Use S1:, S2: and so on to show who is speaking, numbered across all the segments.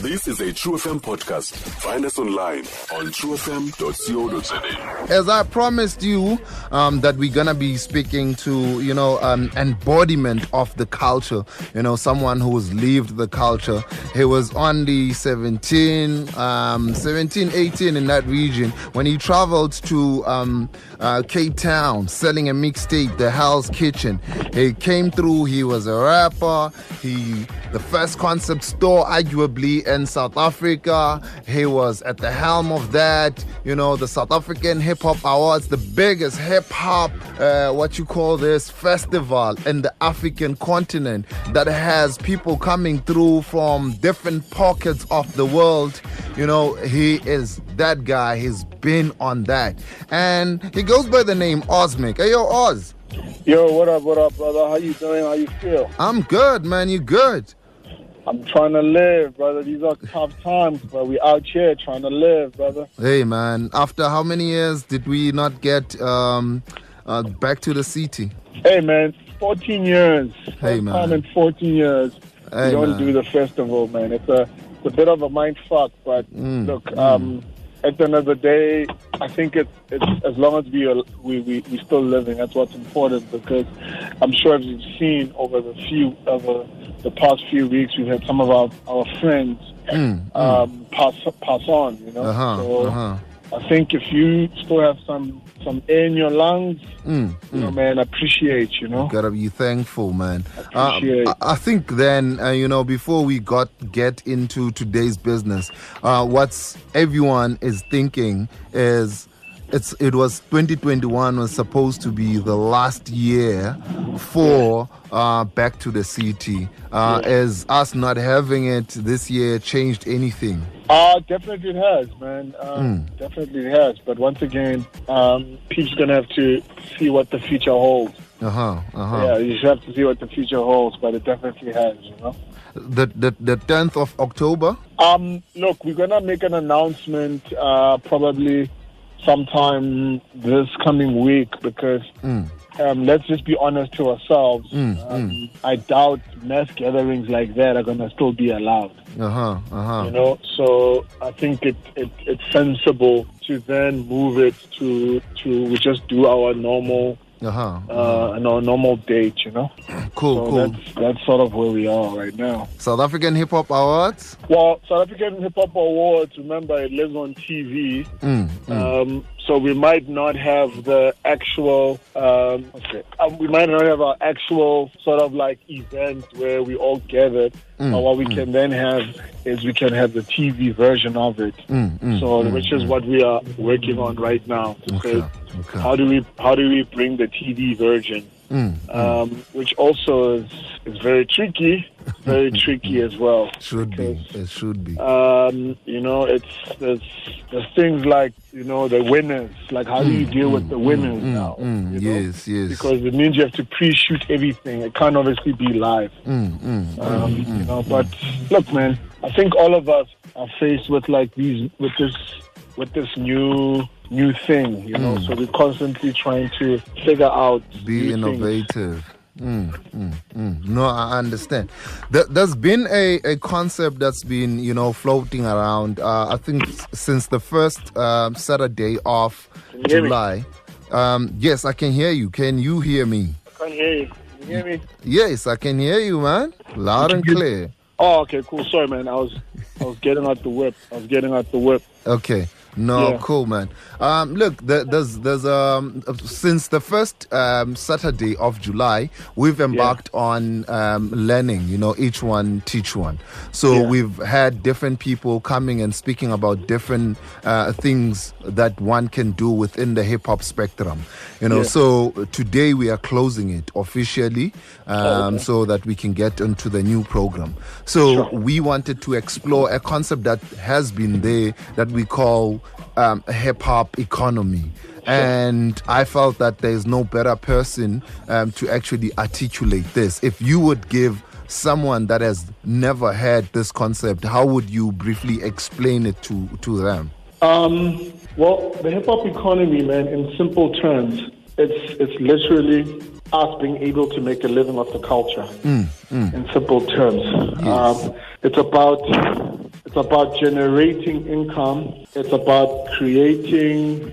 S1: This is a True FM podcast. Find us online on truefm.co.za.
S2: As I promised you um, that we're gonna be speaking to, you know, um, embodiment of the culture. You know, someone who's lived the culture. He was only 17, um, 17, 18 in that region when he traveled to um, uh, Cape Town selling a mixtape, The Hell's Kitchen. He came through. He was a rapper. He the first concept store, arguably in South Africa. He was at the helm of that. You know, the South African Hip Hop Awards, the biggest hip hop, uh, what you call this festival in the African continent that has people coming through from different pockets of the world. You know, he is that guy. He's been on that, and he goes by the name Ozmic. Hey, yo, Oz.
S3: Yo, what up, what up, brother? How you doing? How you feel?
S2: I'm good, man. You good?
S3: I'm trying to live, brother. These are tough times, but we out here trying to live, brother.
S2: Hey man, after how many years did we not get um, uh, back to the city?
S3: Hey, man, 14 years.
S2: Hey,
S3: First
S2: man.
S3: time in 14 years.
S2: Hey,
S3: we don't
S2: man.
S3: do the festival, man. It's a, it's a bit of a mind fuck, but
S2: Mm,
S3: look, um, at the end of the day, I think it's, it's as long as we are we, we we still living, that's what's important. Because I'm sure as you've seen over the few over the past few weeks, we've had some of our our friends um, pass pass on, you know.
S2: Mm, Uh-huh,
S3: so
S2: uh-huh.
S3: I think if you still have some some air in your lungs, you know, man, appreciate, you know.
S2: Gotta be thankful, man. Uh,
S3: Appreciate.
S2: I- I think then, uh, you know, before we got get into today's business, uh, what's everyone is thinking is. It's, it was 2021 was supposed to be the last year for uh, back to the city. Uh, Is us not having it this year changed anything?
S3: Uh, definitely it has, man. Um, Definitely it has. But once again, um, Pete's going to have to see what the future holds.
S2: Uh huh. Uh huh.
S3: Yeah, you just have to see what the future holds, but it definitely has, you know.
S2: The, the the 10th of October.
S3: Um, look, we're going to make an announcement uh, probably sometime this coming week because
S2: Hmm.
S3: um, let's just be honest to ourselves. um, I doubt mass gatherings like that are going to still be allowed.
S2: Uh huh. Uh huh.
S3: you know so i think it, it it's sensible to then move it to to we just do our normal
S2: Uh huh.
S3: uh and our normal date you know
S2: Cool.
S3: so
S2: Cool.
S3: that's that's sort of where we are right now
S2: South African Hip Hop Awards.
S3: well south african hip-hop awards remember it lives on tv
S2: Mm.
S3: um so we might not have the actual um, okay, um we might not have our actual sort of like event where we all gather
S2: Hmm.
S3: but what we can then have is we can have the tv version of it
S2: Mm, mm,
S3: so which is what we are working on right now to
S2: Okay,
S3: say,
S2: okay.
S3: how do we how do we bring the TV version
S2: mm.
S3: um, which also is, is very tricky very tricky as well
S2: Should be.
S3: because,
S2: It should be.
S3: um, you know it's there's, there's things like you know the winners like how do you deal with the winners now
S2: Mm,
S3: you know?
S2: yes. Yes.
S3: because it means you have to pre-shoot everything it can't obviously be live
S2: mm, mm.
S3: um, you know, but look, man, I think all of us are faced with like these with this with this new new thing, you know. So we're constantly trying to figure out
S2: Mm. Be
S3: new things.
S2: innovative. Mm, mm, mm. No, I understand. There, there's been a, a concept that's been, you know, floating around. Uh, I think s- since the first um, Saturday of
S3: you hear me?
S2: July. Um, yes, I can hear you. Can you hear me?
S3: Can't hear you. Can you hear me?
S2: Yes, I can hear you, man. Loud and clear.
S3: Oh, okay, cool. Sorry, man. I was I was getting out the whip. I was getting out the whip.
S2: Okay. No,
S3: Yeah.
S2: cool, man. Um, look, there, there's there's um since the first um, Saturday of July, we've embarked on um, learning. You know, each one teach one. So
S3: Yeah.
S2: we've had different people coming and speaking about different uh, things that one can do within the hip hop spectrum. You know,
S3: Yeah.
S2: so today we are closing it officially, um,
S3: Oh, okay.
S2: so that we can get into the new program. So we wanted to explore a concept that has been there that we call um, hip hop economy. And I felt that there is no better person um, to actually articulate this. If you would give someone that has never heard this concept, how would you briefly explain it to, to them?
S3: Um, well, the hip hop economy, man, in simple terms, it's it's literally us being able to make a living off the culture. In simple terms, um, it's about it's It's about generating income. It's about creating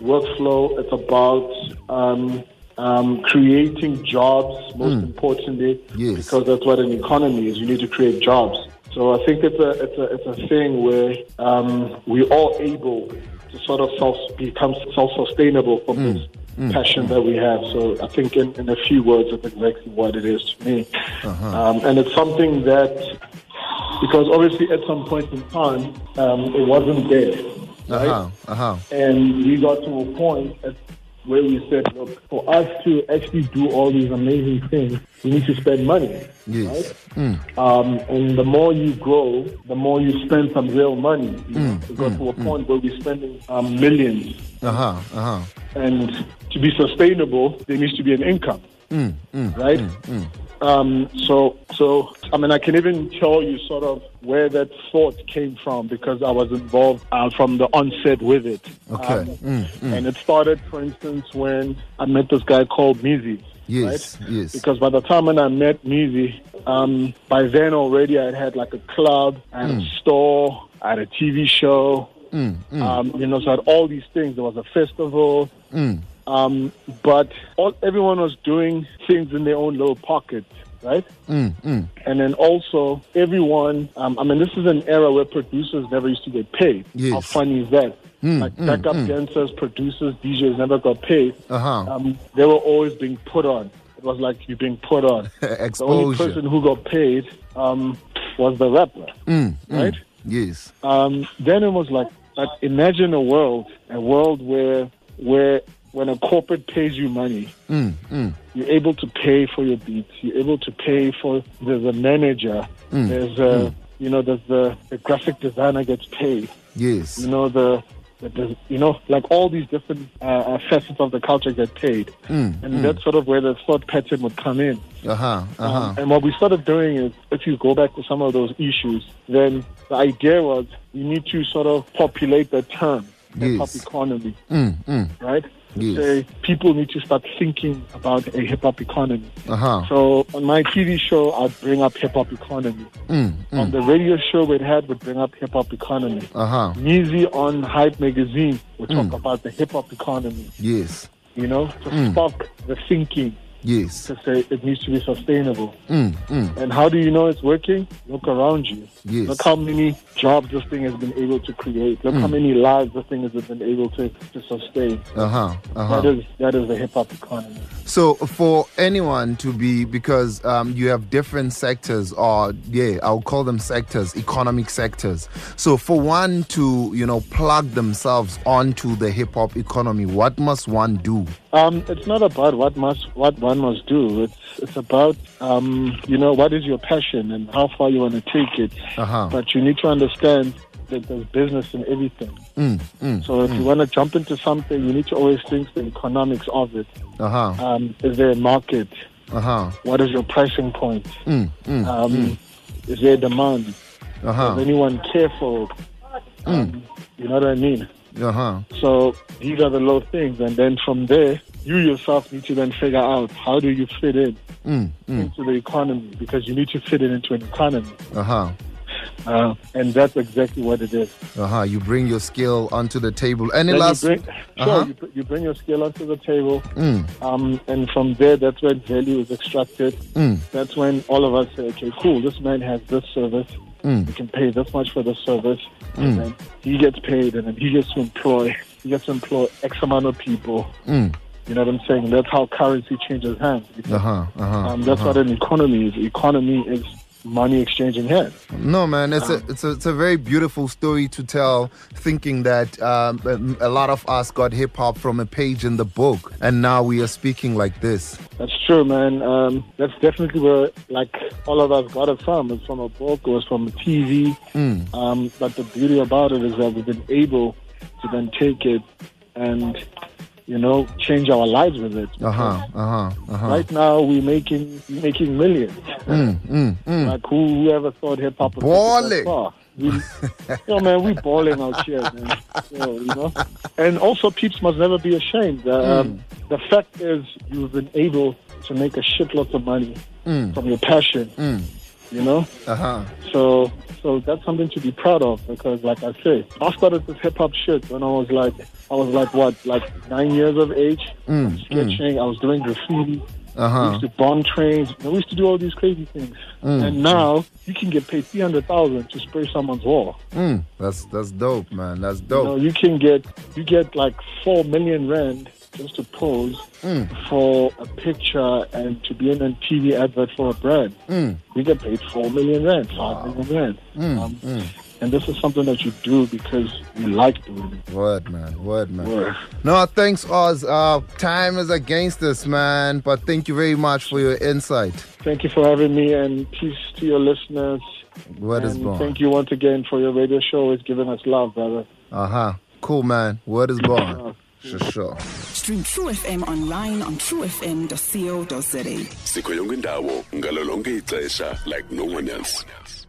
S3: workflow. It's about um, um, creating jobs, most importantly,
S2: Yes.
S3: because that's what an economy is. You need to create jobs. So I think it's a it's a it's a thing where um, we're all able to sort of self become self sustainable from this passion that we have. So I think in, in a few words, that's exactly what it is to me, um, and it's something that because obviously at some point in time um, it wasn't there, right?
S2: Uh-huh. Uh-huh.
S3: And we got to a point at where we said, look, for us to actually do all these amazing things, we need to spend money.
S2: Yes.
S3: Um, and the more you grow, the more you spend some real money. You know,
S2: Mm,
S3: we got to a point where we're spending um, millions.
S2: Uh-huh. Uh-huh.
S3: And to be sustainable, there needs to be an income,
S2: Mm,
S3: right? Um, so, so I mean, I can even tell you sort of where that thought came from because I was involved uh, from the onset with it.
S2: Okay. mm,
S3: Um, And it started, for instance, when I met this guy called Mizi.
S2: Yes,
S3: right?
S2: yes.
S3: Because by the time when I met Mizi, um, by then already I had like a club, I had
S2: Mm.
S3: a store, I had a TV show. Um, you know, so I had all these things. There was a festival.
S2: Mm.
S3: Um, but all, everyone was doing things in their own little pocket, right?
S2: Mm,
S3: And then also, everyone, um, I mean, this is an era where producers never used to get paid.
S2: Yes. Mm,
S3: How funny is that? like backup dancers, producers, DJs never got paid.
S2: Uh-huh.
S3: Um, they were always being put on. It was like you're being put on. The only
S2: E, Exposure.
S3: person who got paid um, was the rapper, right?
S2: Yes.
S3: um, then it was like, like imagine a world, a world where where when a corporate pays you money, you're able to pay for your beats, you're able to pay for there's a manager, there's a you know there's the, the graphic designer gets paid,
S2: Yes.
S3: you know the. the- the- You know, like all these different uh, uh, facets of the culture get paid,
S2: Mm,
S3: and that's sort of where the thought pattern would come in.
S2: Uh-huh. Uh-huh.
S3: Um, and what we started doing is, if you go back to some of those issues, then the idea was you need to sort of populate the term hip hop
S2: Yes.
S3: economy,
S2: Mm, mm.
S3: right? To
S2: Yes.
S3: Say people need to start thinking about a hip hop economy.
S2: Uh-huh.
S3: So on my TV show, I'd bring up hip hop economy.
S2: Mm,
S3: On the radio show we had, would bring up hip hop economy.
S2: Uh-huh.
S3: Yeezy on Hype Magazine would talk
S2: Hmm.
S3: about the hip hop economy.
S2: Yes.
S3: You know, to
S2: Hmm.
S3: spark the thinking
S2: Yes.
S3: to say it needs to be sustainable.
S2: Mm, mm.
S3: And how do you know it's working? Look around you.
S2: Yes.
S3: Look how many jobs this thing has been able to create. Look
S2: Hmm.
S3: how many lives this thing has been able to, to sustain.
S2: Uh-huh. Uh-huh.
S3: That is that is the hip hop economy.
S2: So for anyone to be, because um, you have different sectors, or yeah, I'll call them sectors, economic sectors. So for one to, you know, plug themselves onto the hip hop economy, what must one do?
S3: Um, it's not about what must what one must do. It's it's about um, you know what is your passion and how far you want to take it.
S2: Uh-huh.
S3: But you need to understand that there's business in everything. so if you want to jump into something, you need to always think the economics of it.
S2: Uh huh.
S3: Um, is there a market?
S2: Uh huh.
S3: What is your pricing point? um, Is there demand?
S2: Uh huh.
S3: Does anyone care for? it? Um, You know what I mean?
S2: Uh huh.
S3: So these are the low things, and then from there, you yourself need to then figure out how do you fit in into the economy because you need to fit it into an economy,
S2: Uh huh.
S3: uh, and that's exactly what it is.
S2: Uh huh. You bring your skill onto the table. Any
S3: Then
S2: last?
S3: you bring,
S2: Uh-huh.
S3: sure, you, br- you bring your skill onto the table, um, and from there, that's when value is extracted. That's when all of us say, okay, cool, this man has this service. We can pay this much for this service, and then he gets paid, and then he gets to employ, he gets to employ X amount of people. You know what I'm saying? That's how currency changes hands.
S2: Uh huh. Uh huh.
S3: Um, that's what an economy is. Economy is money exchanging hands.
S2: No, man, it's
S3: Ah.
S2: a it's a it's a very beautiful story to tell. Thinking that um, um, a lot of us got hip hop from a page in the book, and now we are speaking like this.
S3: That's true, man. Um, that's definitely where, like, all of us got it from. It's from a book, it was from TV. Um, but the beauty about it is that we've been able to then take it and, you know, change our lives with it.
S2: Uh huh. Uh huh. Uh huh.
S3: Right now, we're making we're making millions. Like, who, whoever thought hip hop was
S2: Balling.
S3: We, yo, man, we balling out here, man. Yo, you know? And also, peeps must never be ashamed. Um, The fact is, you've been able to make a shitload of money from your passion. you know?
S2: Uh huh.
S3: So so that's something to be proud of because like I say, I started this hip hop shit when I was like I was like what, like nine years of age, sketching, I was doing graffiti.
S2: Uh
S3: We
S2: huh.
S3: used to bomb trains. We used to do all these crazy things. And now you can get paid three hundred thousand to spray someone's wall.
S2: Mm, that's that's dope, man. That's
S3: You know,
S2: dope.
S3: you can get you get like four million rand just to pose
S2: Hmm.
S3: for a picture and to be in a TV advert for a brand.
S2: Hmm.
S3: You get paid four million rand, five million rand. Um,
S2: hmm.
S3: And this is something that you do because you like doing it.
S2: Word, man. Word, man.
S3: Word.
S2: No, thanks, Oz. Uh, time is against us, man. But thank you very much for your insight.
S3: Thank you for having me, and peace to your listeners.
S2: Word is
S3: and
S2: born.
S3: thank you once again for your radio show. Always giving us love, brother.
S2: Uh huh. Cool, man. Word is
S3: Uh-huh.
S2: born. Sure, sure.
S4: Stream True FM online on truefm.co.za.
S1: sikho yonke indawo ngalo lonke ixesha like no one else